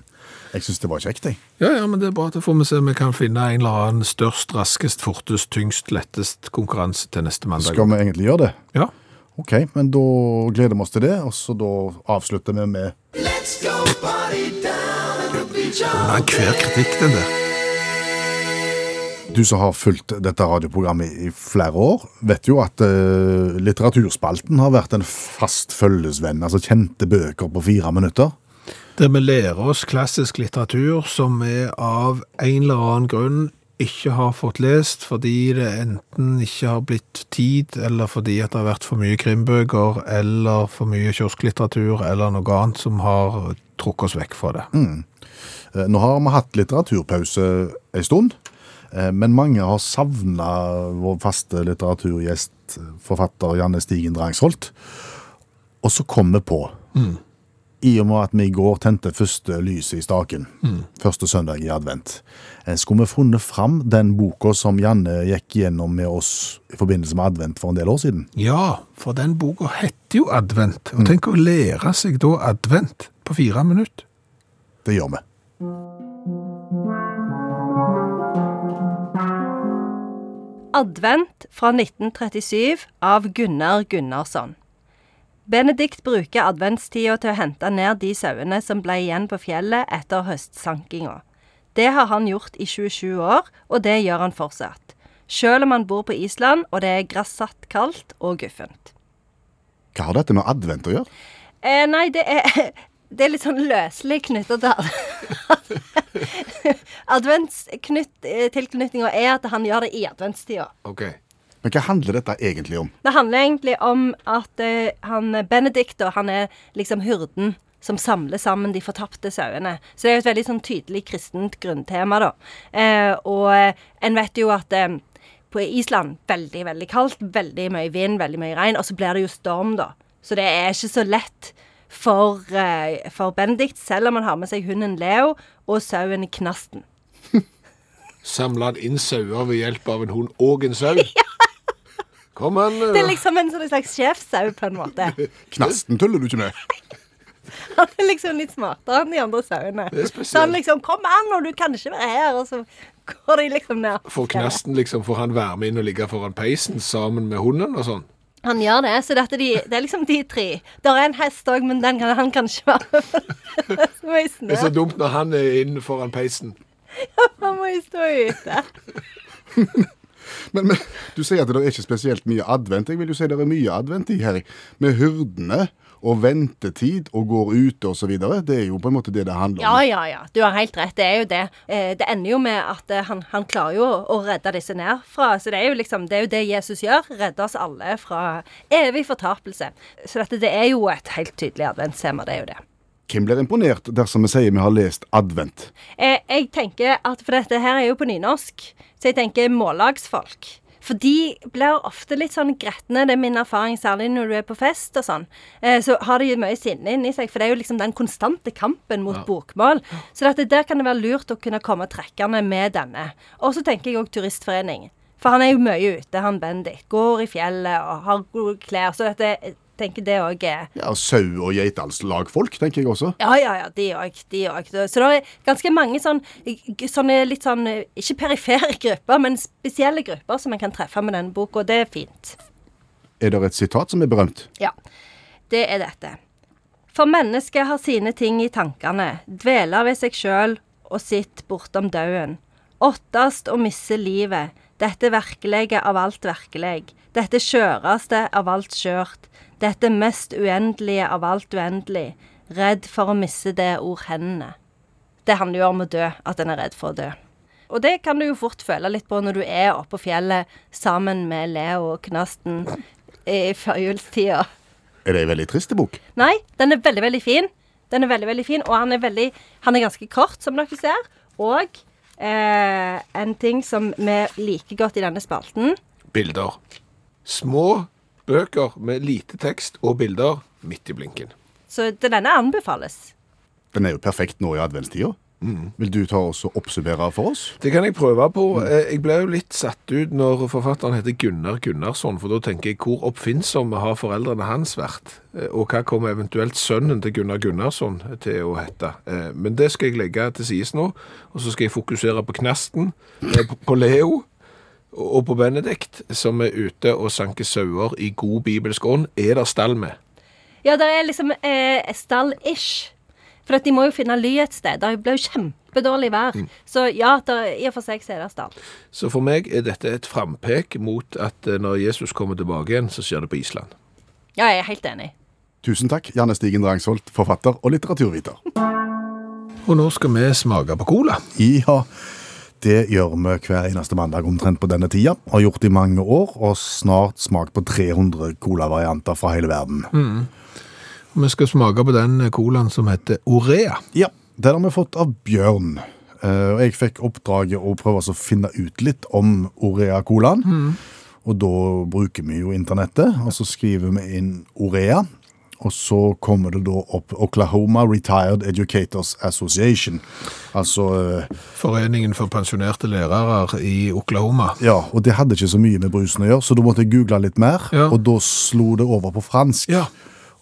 Jeg synes det var kjekt, jeg.
Ja, ja, men det er bra. Da får vi se om vi kan finne en eller annen størst, raskest, fortest, tyngst, lettest konkurranse til neste mandag.
Skal vi egentlig gjøre det?
Ja.
Ok, men da gleder vi oss til det, og så da avslutter vi med
Let's go party down at the beach all
Men hver kritikk, den der.
Du som har fulgt dette radioprogrammet i flere år, vet jo at eh, litteraturspalten har vært en fast følgesvenn. Altså kjente bøker på fire minutter.
Der vi lærer oss klassisk litteratur som vi av en eller annen grunn ikke har fått lest fordi det enten ikke har blitt tid, eller fordi at det har vært for mye krimbøker, eller for mye kiosklitteratur, eller noe annet som har trukket oss vekk fra det.
Mm.
Eh, nå har vi hatt litteraturpause en stund, eh, men mange har savna vår faste litteraturgjest, forfatter Janne Stigen Drangsholt. Og så kom vi på, i og med at vi i går tente første lyset i staken, første søndag i advent, eh, skulle vi funnet fram den boka som Janne gikk gjennom med oss i forbindelse med advent for en del år siden?
Ja, for den boka heter jo Advent,
Mm.
og tenk å lære seg da Advent på fire minutter.
Det gjør vi.
Advent fra 1937 av Gunnar Gunnarsson. Benedikt bruker adventstida til å hente ned de sauene som ble igjen på fjellet etter høstsankinga. Det har han gjort i 27 år, og det gjør han fortsatt. Sjøl om han bor på Island og det er grassatt kaldt og guffent.
Hva har dette med advent å gjøre?
Eh, nei, det er, *laughs* det er litt sånn løselig knytta til *laughs* Adventstilknytninga eh, er at han gjør det i adventstida.
Ok.
Men hva handler dette egentlig om?
Det handler egentlig om at eh, han Benedikt da, han er liksom hyrden som samler sammen de fortapte sauene. Så det er jo et veldig sånn tydelig kristent grunntema, da. Eh, og eh, en vet jo at eh, på Island veldig, veldig kaldt, veldig mye vind, veldig mye regn, og så blir det jo storm, da. Så det er ikke så lett for, eh, for Benedikt, selv om han har med seg hunden Leo og sauen Knasten.
Samlet inn sauer ved hjelp av en hund og en
*laughs*
sau? Kom an.
Det er liksom en sånn slags sjefsau, på en måte.
Knasten tuller du ikke med?
*laughs* Han er liksom litt smartere enn de andre sauene.
Det er spesielt.
Så han liksom 'Kom an, og du kan ikke være her', og så går de liksom ned.
Får knasten liksom, får han være med inn og ligge foran peisen sammen med hunden og sånn?
Han gjør det, så dette de, det er liksom de tre. Der er en hest òg, men den kan, han kan ikke være *laughs* med. Så må jeg
Det er så
snø.
dumt når han er inne foran peisen.
Han må jo stå ute.
Men, men du sier at det er ikke spesielt mye advent. Jeg vil jo si det er mye advent i her. Med hyrdene og ventetid og går ute og så videre. Det er jo på en måte det det handler
Ja,
om.
ja, ja. Du har helt rett. Det er jo det. Eh, Det ender jo med at eh, han, han klarer jo å- å redde disse nedfra. Så det er jo liksom, det er jo det Jesus gjør. Redder oss alle fra evig fortapelse. Så dette det er jo et helt tydelig adventstema. Det er jo det.
Hvem blir imponert dersom vi sier vi har lest advent?
Eh, jeg tenker at For dette her er jo på nynorsk, så jeg tenker mållagsfolk. For de blir ofte litt sånn gretne, det er min erfaring, særlig når du er på fest og sånn. Eh, så har de jo mye sinne inni seg, for det er jo liksom den konstante kampen mot bokmål. Så dette, der kan det være lurt å kunne komme trekkende med denne. Og så tenker jeg òg turistforening. For han er jo mye ute, han Bendik. Går i fjellet og har gode klær. Så dette, jeg tenker det òg er
Ja, Sau- og geitalslagfolk, tenker jeg også.
ja, ja, ja, de òg. De òg. Så det er ganske mange sånn, g- sånne litt sånn eh, Ikke perifere *laughs* grupper, men spesielle grupper som en kan treffe med denne boka, og det er fint.
Er det et sitat som er berømt?
Ja. Det er dette. For mennesket har sine ting i tankene, dveler ved seg sjøl og sitt bortom dauen. Ottast å misse livet, dette verkelege av alt verkeleg, dette skjøraste av alt skjørt, dette mest uendelige av alt uendelig, redd for å misse det ord hendene. Det handler jo om å dø, at en er redd for å dø. Og det kan du jo fort føle litt på når du er oppe på fjellet sammen med Leo og Knasten i førjulstida.
Er det en veldig trist bok?
Nei, den er veldig, veldig fin. Den er veldig, veldig fin, og han er, veldig, han er ganske kort, som dere ser. Og eh, en ting som vi liker godt i denne spalten
Bilder. Små bøker med lite tekst og bilder midt i blinken.
Så denne anbefales.
Den er jo perfekt nå i adventstida. Vil du ta oss og oppsummere for oss?
Det kan jeg prøve på. Eh, Jeg ble jo litt satt ut når forfatteren heter Gunnar Gunnarsson, for da tenker jeg hvor oppfinnsomme har foreldrene hans vært? Eh, Og hva kommer eventuelt sønnen til Gunnar Gunnarsson til å hete? Eh, Men det skal jeg legge til sides nå, og så skal jeg fokusere på Knasten, eh, på- på Leo og på Benedikt, som er ute og sanker sauer i god bibelsk ånd. Er det stall med?
Ja, det er liksom eh, stall-ish. For at de må jo finne ly et sted. Det blir jo kjempedårlig vær. Så ja, der, i og for seg så er det stall.
Så for meg er dette et frampek mot at eh, når Jesus kommer tilbake igjen, så skjer det på Island.
Ja, jeg er helt enig.
Tusen takk, Janne Stigen Drangsholt, forfatter og litteraturviter.
Og nå skal vi smake på cola.
Ja, det gjør vi hver eneste mandag omtrent på denne tida. Har gjort i mange år, og snart smakt på 300 colavarianter fra hele verden.
Vi skal smake på den colaen som heter Orea.
Ja, den har vi fått av Bjørn. Eh, Og jeg fikk oppdraget å prøve altså å finne ut litt om Orea Colaen. Og da bruker vi jo internettet, og så skriver vi inn Orea. Og så kommer det da opp Oklahoma Retired Educators Association. Altså eh,
Foreningen for pensjonerte lærere i Oklahoma.
Ja, og det hadde ikke så mye med brusen å gjøre, så da måtte jeg google litt mer,
Ja.
og da slo det over på fransk.
Ja.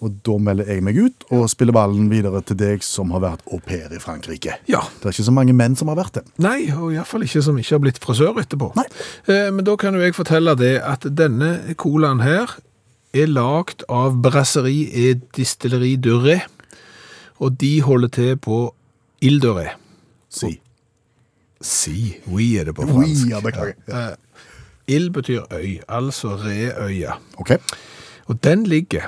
Og da melder jeg meg ut og spiller ballen videre til deg som har vært au pair i Frankrike.
Ja.
Det er ikke så mange menn som har vært det.
Nei, og iallfall ikke som ikke har blitt frisør etterpå.
Nei.
Eh, men da kan jo jeg fortelle det at denne colaen her er lagd av Brasserie et Distilleri de Ré, og de holder til på Ile de Ré.
Si.
Si. Oui er det på
Oui,
fransk.
ja, beklager.
Ja. Eh, Il betyr øy, altså Reøya.
Ok.
Og den ligger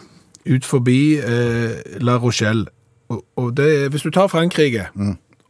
ut forbi eh, La Rochelle. Og, og det, er- hvis du tar Frankrike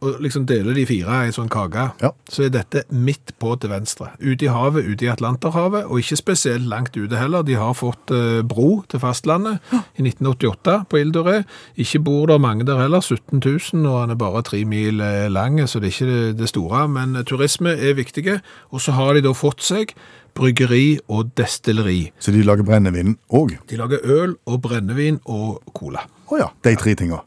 og liksom deler de fire i en sånn kake,
Ja.
så er dette midt på til venstre. Ute i havet, ute i Atlanterhavet, og ikke spesielt langt ute heller. De har fått eh, bro til fastlandet i 1988 på Ile de Ré. Ikke bor der mange der heller, 17 000, og han er bare tre mil eh, lang, så det er ikke det- det store. Men eh, turisme er viktige, og så har de da fått seg bryggeri og destilleri.
Så de lager brennevin òg?
De lager øl og brennevin og cola.
Å ja. De tre tinga.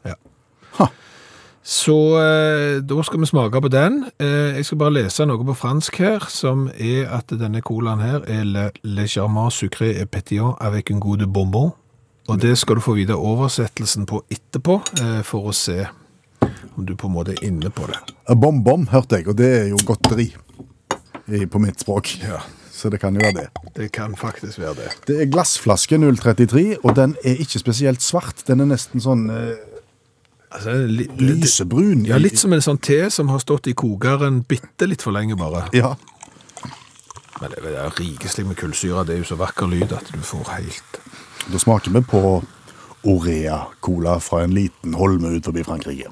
Så eh, da skal vi smake på den. Eh, jeg skal bare lese noe på fransk her, som er at denne colaen her er le, le charmant sucré et pétillant avec un goût de bonbon. Og det skal du få vite oversettelsen på etterpå, eh, for å se om du på en måte er inne på det.
Bom-bom, hørte jeg, og det er jo godteri i- på mitt språk. Så det kan jo være det.
Det kan faktisk være det.
Det er glassflaske 033, og den er ikke spesielt svart. Den er nesten sånn eh,
Altså, li,
lysebrun.
ja,
i-
litt som en sånn te som har stått i kokeren bitte litt for lenge bare.
Ja.
Men det er jo rikeslig med kullsyre. Det er jo så vakker lyd at du får helt
Da smaker vi på Orea-cola fra en liten holme ut forbi Frankrike.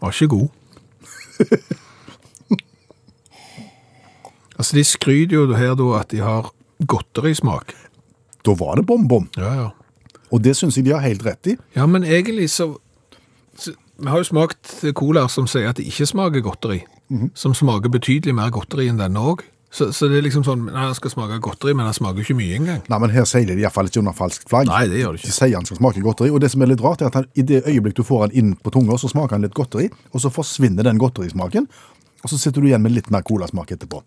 Var ikke *laughs* god. altså, de skryter jo her da at de har godterismak.
Da var det bom-bom,
Ja, ja.
og det syns jeg de har helt rett i.
Ja, men egentlig så, så Vi har jo smakt colaer som sier at det ikke smaker godteri. Som smaker betydelig mer godteri enn denne òg. Så, så det er liksom sånn Nei, han skal smake godteri, men han smaker jo ikke mye engang.
Nei, men Her seiler de iallfall ikke under falskt flagg.
Nei, det gjør det
De
ikke.
sier han skal smake godteri, og det som er litt rart er at han, i det øyeblikk du får han inn på tunga, så smaker han litt godteri, og så forsvinner den godterismaken, og så sitter du igjen med litt mer colasmak etterpå.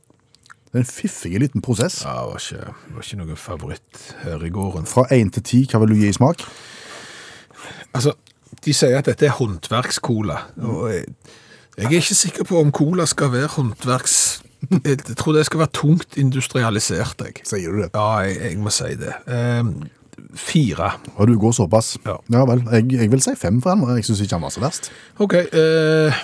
Det er en fiffig liten prosess.
Ja, det var ikke, det var ikke noe favoritt her i gården.
Fra én til ti, hva vil du gi i smak?
Altså, de sier at dette er håndverkscola. Og jeg, jeg er ikke sikker på om cola skal være håndverks... Jeg tror det skal være tungt industrialisert, jeg.
Sier du det?
Ja, jeg, jeg må si det. Ehm, fire.
Og du går såpass?
Ja.
vel. Jeg, jeg vil si fem for han, og jeg syns ikke han var så verst.
Ok, eh,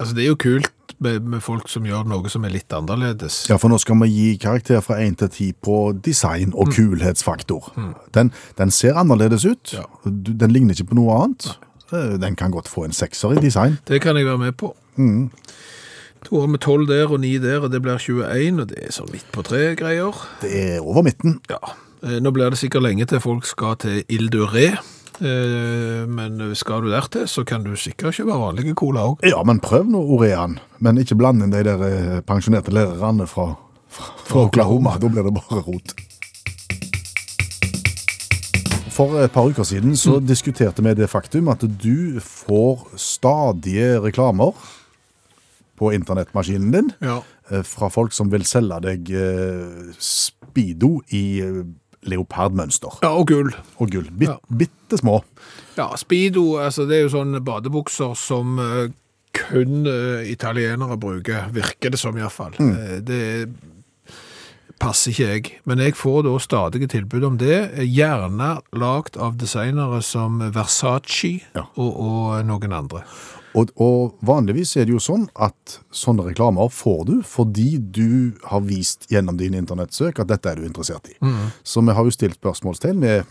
altså det er jo kult med, med folk som gjør noe som er litt annerledes.
Ja, for nå skal vi gi karakter fra 1 til 10 på design
Mm.
og kulhetsfaktor. Den, den ser annerledes ut.
Ja.
Du- Den ligner ikke på noe annet. Eh, Den kan godt få en sekser i design.
Det kan jeg være med på. To har vi tolv der og ni der, og det blir 21, og det er sånn midt på tre greier.
Det er over midten.
Ja, eh, nå blir det sikkert lenge til folk skal til Ile de Ré, eh, men skal du der til, så kan du sikkert kjøpe vanlige cola også.
Ja, men prøv nå Orean. Men ikke bland inn de der eh, pensjonerte lærerne fra, fra, fra Oklahoma. Da blir det bare rot. For et par uker siden så
Mm.
diskuterte vi det faktum at du får stadige reklamer på internettmaskinen din
Ja.
eh, fra folk som vil selge deg eh, Speedo i eh, leopardmønster
Ja, og gull.
og gull. Bit,
Ja.
Bitte små.
Ja, Speedo, altså det er jo sånne badebukser som eh, kun eh, italienere bruker, virker det som iallfall. fall. Eh, det passer ikke jeg, men jeg får da stadige tilbud om det, eh, gjerne lagd av designere som Versace
Ja.
og, og noen andre.
Og, og vanligvis er det jo sånn at sånne reklamer får du fordi du har vist gjennom dine internettsøk at dette er du interessert i.
Mm.
Så vi har jo stilt spørsmålstegn ved,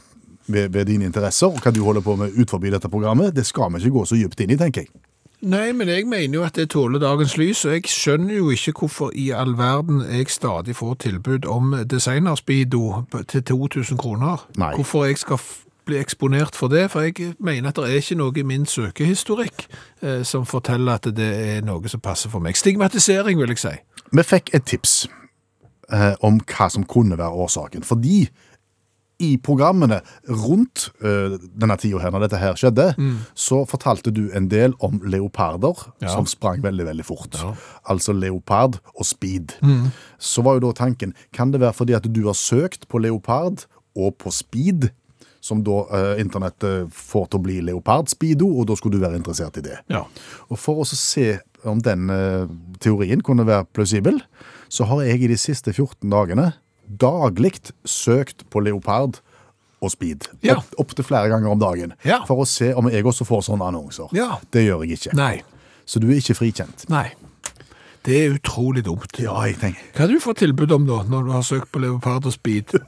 ved, ved dine interesser og hva du holder på med ut forbi dette programmet. Det skal vi ikke gå så dypt inn i, tenker jeg.
Nei, men jeg mener jo at det tåler dagens lys, og jeg skjønner jo ikke hvorfor i all verden jeg stadig får tilbud om designerspeedo til 2000 kroner.
Nei.
Hvorfor jeg skal f- bli eksponert for det, for jeg mener at det er ikke noe i min søkehistorikk eh, som forteller at det er noe som passer for meg. Stigmatisering, vil jeg si.
Vi fikk et tips eh, om hva som kunne være årsaken. Fordi i programmene rundt eh, denne tida her, når dette her skjedde, så fortalte du en del om leoparder
Mm. Ja.
som sprang veldig, veldig fort.
Ja. Mm.
Altså leopard og speed. Så var jo da tanken, kan det være fordi at du har søkt på leopard og på speed, som da eh, internettet får til å bli leopard-speedo, og da skulle du være interessert i det.
Ja.
Og for å så se om den eh, teorien kunne være plausibel, så har jeg i de siste 14 dagene daglig søkt på leopard og speed.
Ja.
Opp, Opptil flere ganger om dagen.
Ja.
For å se om jeg også får sånne annonser.
Ja.
Det gjør jeg ikke.
Nei.
Så du er ikke frikjent.
Nei. Det er utrolig dumt.
Ja, jeg tenker.
Hva har du fått tilbud om da, når du har søkt på Leopard og Speed? *laughs*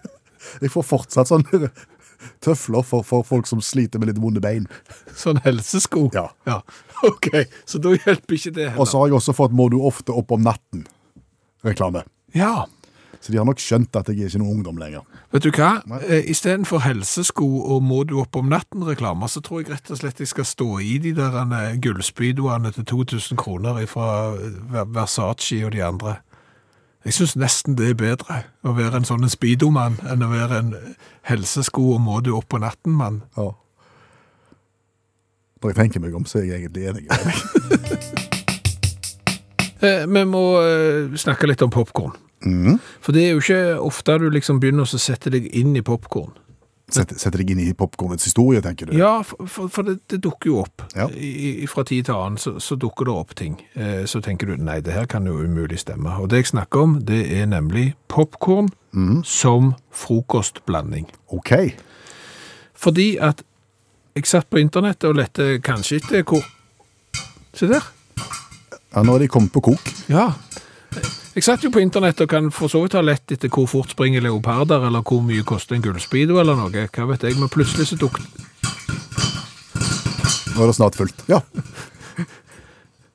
Jeg får fortsatt sånne *laughs* tøfler for, for folk som sliter med litt vonde bein.
Sånn helsesko?
Ja.
ja. *laughs* Ok, så da hjelper ikke det heller.
Og så har jeg også fått 'må du ofte opp om natten'-reklame.
Ja,
Så de har nok skjønt at jeg er ikke noen ungdom lenger.
vet du hva? Eh, I stedet for helsesko og må du opp om natten reklamer, så tror jeg rett og slett jeg skal stå i de der eh, gullspydoene til 2000 kroner fra Versace og de andre. Jeg synes nesten det er bedre å være en sånn en speedomann enn å være en helsesko og må du opp på natten, mann.
Ja. Når jeg tenker meg om, så er jeg egentlig enig. med deg.
Eh, Vi må eh, snakke litt om popcorn. For det er jo ikke ofte du liksom begynner å sette deg inn i popcorn.
Setter, setter deg inn i popkornets historie, tenker du?
Ja, for- for, for det, det dukker jo opp.
Ja.
I, i- fra tid til annen så, så dukker det opp ting. Eh, så tenker du nei, det her kan jo umulig stemme. Og det jeg snakker om, det er nemlig popkorn som frokostblanding.
OK.
Fordi at Jeg satt på internettet og lette kanskje etter hvor Se der.
Ja, nå er de kommet på kok.
Ja. Jeg satt jo på internett og kan for så vidt ha lett etter hvor fort springer leoparder, eller hvor mye koster en gullspeedo eller noe. Hva vet jeg. Men plutselig så dukk...
Nå er det snart fullt. Ja,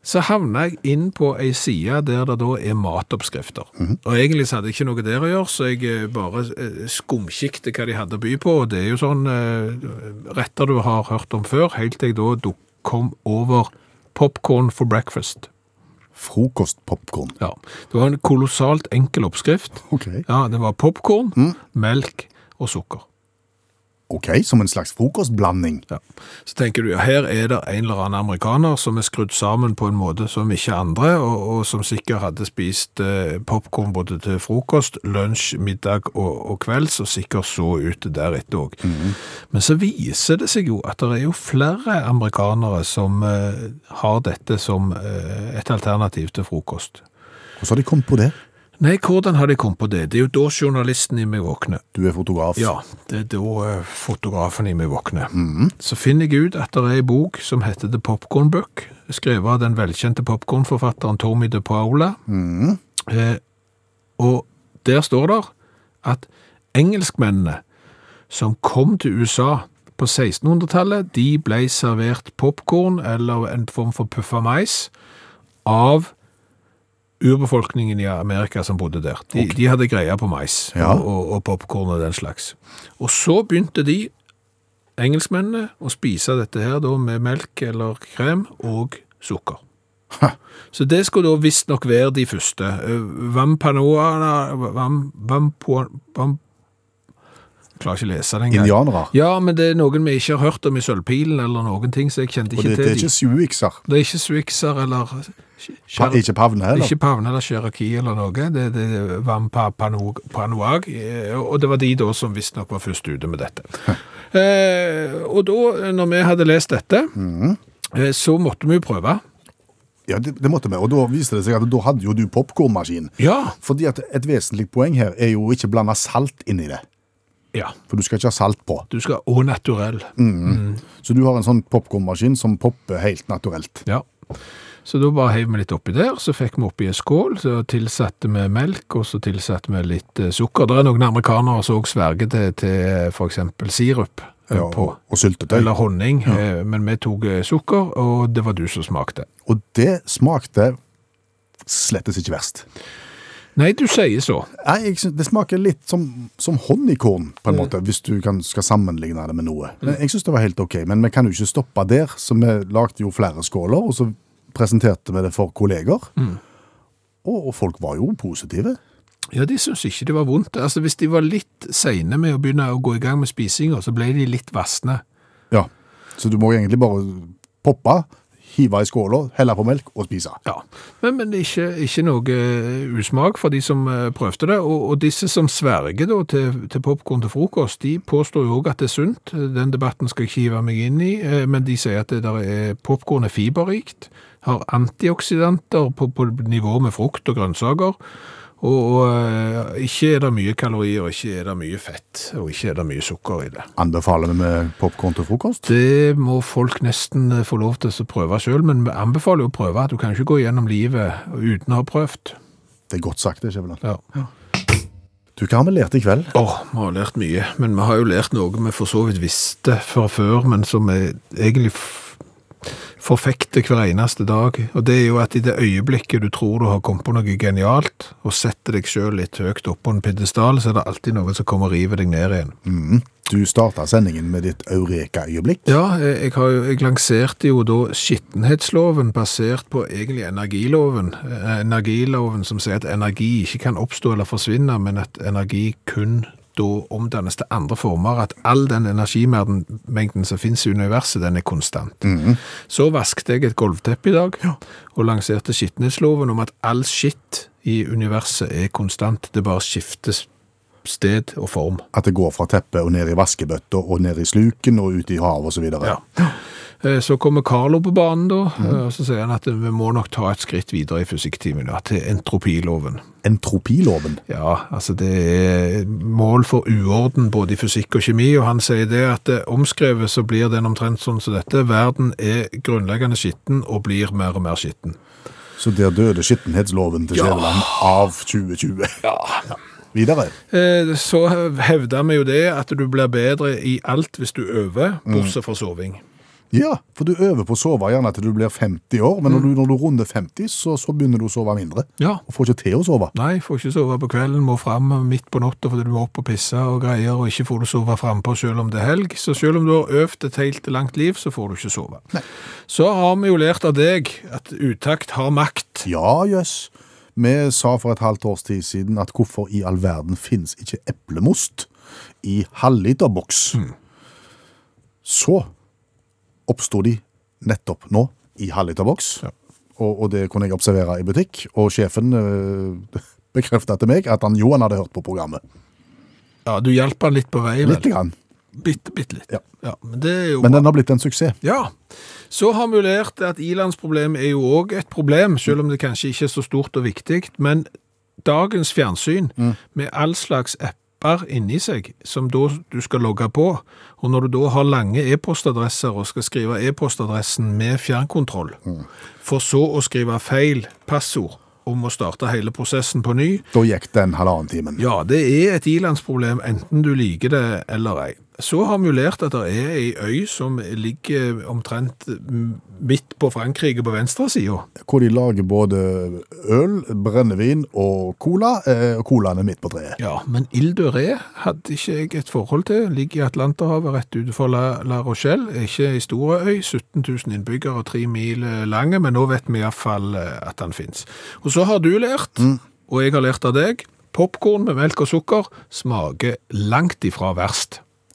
Så havna jeg inn på ei side der det da er matoppskrifter. Og egentlig så hadde jeg ikke noe der å gjøre, så jeg eh, bare eh, skumkikte hva de hadde å by på. Og det er jo sånn eh, retter du har hørt om før, helt til jeg da duk- kom over popcorn for breakfast.
frokostpopkorn.
Ja. Det var en kolossalt enkel oppskrift.
Ok.
Ja, det var popkorn, melk og sukker.
Ok, som en slags frokostblanding.
Ja. Så tenker du, ja, her er det en eller annen amerikaner som er skrudd sammen på en måte som ikke andre, og, og som sikkert hadde spist eh, popcorn både til frokost, lunsj, middag og, og kvelds, og sikkert så ut deretter òg. Men så viser det seg jo at det er jo flere amerikanere som eh, har dette som eh, et alternativ til frokost.
Hvordan har de kommet på det?
Nei, hvordan har de kommet på det? Det er jo da journalisten i meg våkner.
Du er fotograf.
Ja, det er da eh, fotografen i meg våkner. Så finner jeg ut at det er en bok som heter The Popcorn Book, skrevet av den velkjente popcornforfatteren Tommy de Paola. Eh, og der står det at engelskmennene som kom til USA på 1600-tallet, de ble servert popcorn eller en form for puffa mais av urbefolkningen i Amerika som bodde der. De, de hadde greia på mais
Ja.
og, og, og popcorn og den slags. Og så begynte de, engelskmennene, å spise dette her da med melk eller krem og sukker. Så det skulle da visstnok være de første. Eh, Vampanoana vam, Vampo... Vam, klarer ikke å lese det engang.
Indianere.
Ja, men det er noen vi ikke har hørt om i Sølvpilen eller noen ting, så jeg kjente
Og
ikke
det,
til
det er
de.
ikke suikser.
Det er ikke swixer eller
Pa,
Cher-
ikke pavne heller.
ikke Pavne eller Cherokee eller noe. Det, det det var Pa- Pano- Panoag. eh, Og det var de da som visstnok var først ute med
*laughs*
dette. Eh, og da, når vi hadde lest dette,
Mm.
eh, så måtte vi jo prøve.
Ja, det, det måtte vi. Og da viste det seg at da hadde jo du popkornmaskin.
Ja.
Fordi at et vesentlig poeng her er jo ikke blande salt inn i det.
ja.
For du skal ikke ha salt på.
Du skal au naturell.
Mm. Så du har en sånn popkornmaskin som popper helt naturelt.
Ja. Så da bare heiv vi litt oppi der, så fikk vi oppi en skål, så tilsatte vi melk, og så tilsatte vi litt eh, sukker. Det er noen amerikanere som også sverger til, til for eksempel sirup eh,
Ja,
på.
og, og syltetøy.
Eller honning, eh, men vi tok eh, sukker, og det var du som smakte.
Og det smakte slettes ikke verst.
Nei, du sier så.
Nei, jeg synes, Det smaker litt som, som honningkorn, på
Mm.
en måte, hvis du kan, skal sammenligne det med noe. Men jeg syns det var helt OK, men vi kan jo ikke stoppe der, så vi lagde jo flere skåler, og så presenterte vi det for kolleger.
Mm.
Og, og folk var jo positive.
Ja, de syntes ikke det var vondt. Altså, Hvis de var litt seine med å begynne å gå i gang med spisinga, så ble de litt vassne.
Ja. Så du må egentlig bare poppe, hive i skåla, helle på melk og spise.
Ja, Men, men ikke, ikke noe eh, usmak for de som eh, prøvde det. Og, og disse som sverger da til, til popkorn til frokost, de påstår jo òg at det er sunt. Den debatten skal jeg ikke hive meg inn i, eh, men de sier at det der er popkorn er fiberrikt, har antioksidanter på, på nivå med frukt og grønnsaker. Og, og eh, ikke er det mye kalorier, ikke er det mye fett, og ikke er det mye sukker i det.
Anbefaler vi med popkorn til frokost?
Det må folk nesten eh, få lov til å prøve sjøl, men vi anbefaler jo å prøve. Du kan ikke gå gjennom livet uten å ha prøvd.
Det er godt sagt, det, Skjæveland.
Ja.
Du, hva har vi lært i kveld?
Åh, vi har lært mye, men vi har jo lært noe vi for så vidt visste fra før, men som vi egentlig f- forfekter hver eneste dag. Og det er jo at i det øyeblikket du tror du har kommet på noe genialt, og setter deg sjøl litt høyt opp på en piedestal, så er det alltid noen som kommer og river deg ned igjen.
Mm, Du starta sendingen med ditt eureka-øyeblikk.
Ja, eh, jeg, jeg, har jo, jeg lanserte jo da skittenhetsloven basert på egentlig energiloven. Eh, Energiloven som sier at energi ikke kan oppstå eller forsvinne, men at energi kun da omdannes til andre former. At all den energimengden som finnes i universet, den er konstant. Så vasket jeg et gulvteppe i dag, og lanserte skittenhetsloven om at all skitt i universet er konstant. Det bare skiftes sted og form.
At det går fra teppet og ned i vaskebøtta og ned i sluken og ut i havet osv.
Ja. Eh, Så kommer Carlo på banen da, eh, og så sier han at eh, vi må nok ta et skritt videre i fysikktimen, da, til entropiloven.
Entropiloven.
Ja, altså det er mål for uorden både i fysikk og kjemi, og han sier det at eh, omskrevet så blir den omtrent sånn som dette. Verden er grunnleggende skitten og blir mer og mer skitten.
Så der døde skittenhetsloven til Skjæveland av 2020. Ja. Videre.
Eh, Så hevder vi jo det at du blir bedre i alt hvis du øver, bortsett fra soving.
Ja, for du øver på å sove gjerne til du blir 50 år, men når du, når du runder 50, så, så begynner du å sove mindre.
Mm. Ja.
Og får ikke til å sove.
Nei, får ikke sove på kvelden, må fram midt på natta fordi du må opp og pisse og greier, og ikke får du sove frampå selv om det er helg. Så selv om du har øvd et helt langt liv, så får du ikke sove. Så har vi jo lært av deg at utakt har makt.
Ja, jøss. Vi sa for et halvt års tid siden at hvorfor i all verden finnes ikke eplemost i halvliterboks? Så oppsto de nettopp nå i halvliterboks, og, og det kunne jeg observere i butikk. Og sjefen øh, *laughs* bekreftet til meg at han jo han hadde hørt på programmet.
Ja, du hjelper han litt på vei, vel?
Litt. Grann.
Bitte, bitte litt.
Ja.
men det er jo
Men den har blitt en suksess.
Ja. Så har vi jo lært at ilandsproblemet er jo òg et problem, selv om det kanskje ikke er så stort og viktig. Men dagens fjernsyn, med all slags apper inni seg, som da du skal logge på, og når du da har lange e-postadresser og skal skrive e-postadressen med fjernkontroll, for så å skrive feil passord og må starte hele prosessen på ny,
Da gikk den halvannen timen.
ja, det er et ilandsproblem, enten du liker det eller ei. Så har vi jo lært at det er ei øy som ligger omtrent midt på Frankrike på venstresida.
Hvor de lager både øl, brennevin og cola. Eh, og colaen er midt på treet.
Ja, men Ile de Ré hadde ikke jeg et forhold til. Ligger i Atlanterhavet rett utenfor La, La Rochelle. Er Ikke ei stor øy, 17 000 innbyggere og tre mil eh, lange, men nå vet vi iallfall eh, at den fins. Og så har du lært, og jeg har lært av deg, popkorn med melk og sukker smaker langt ifra verst.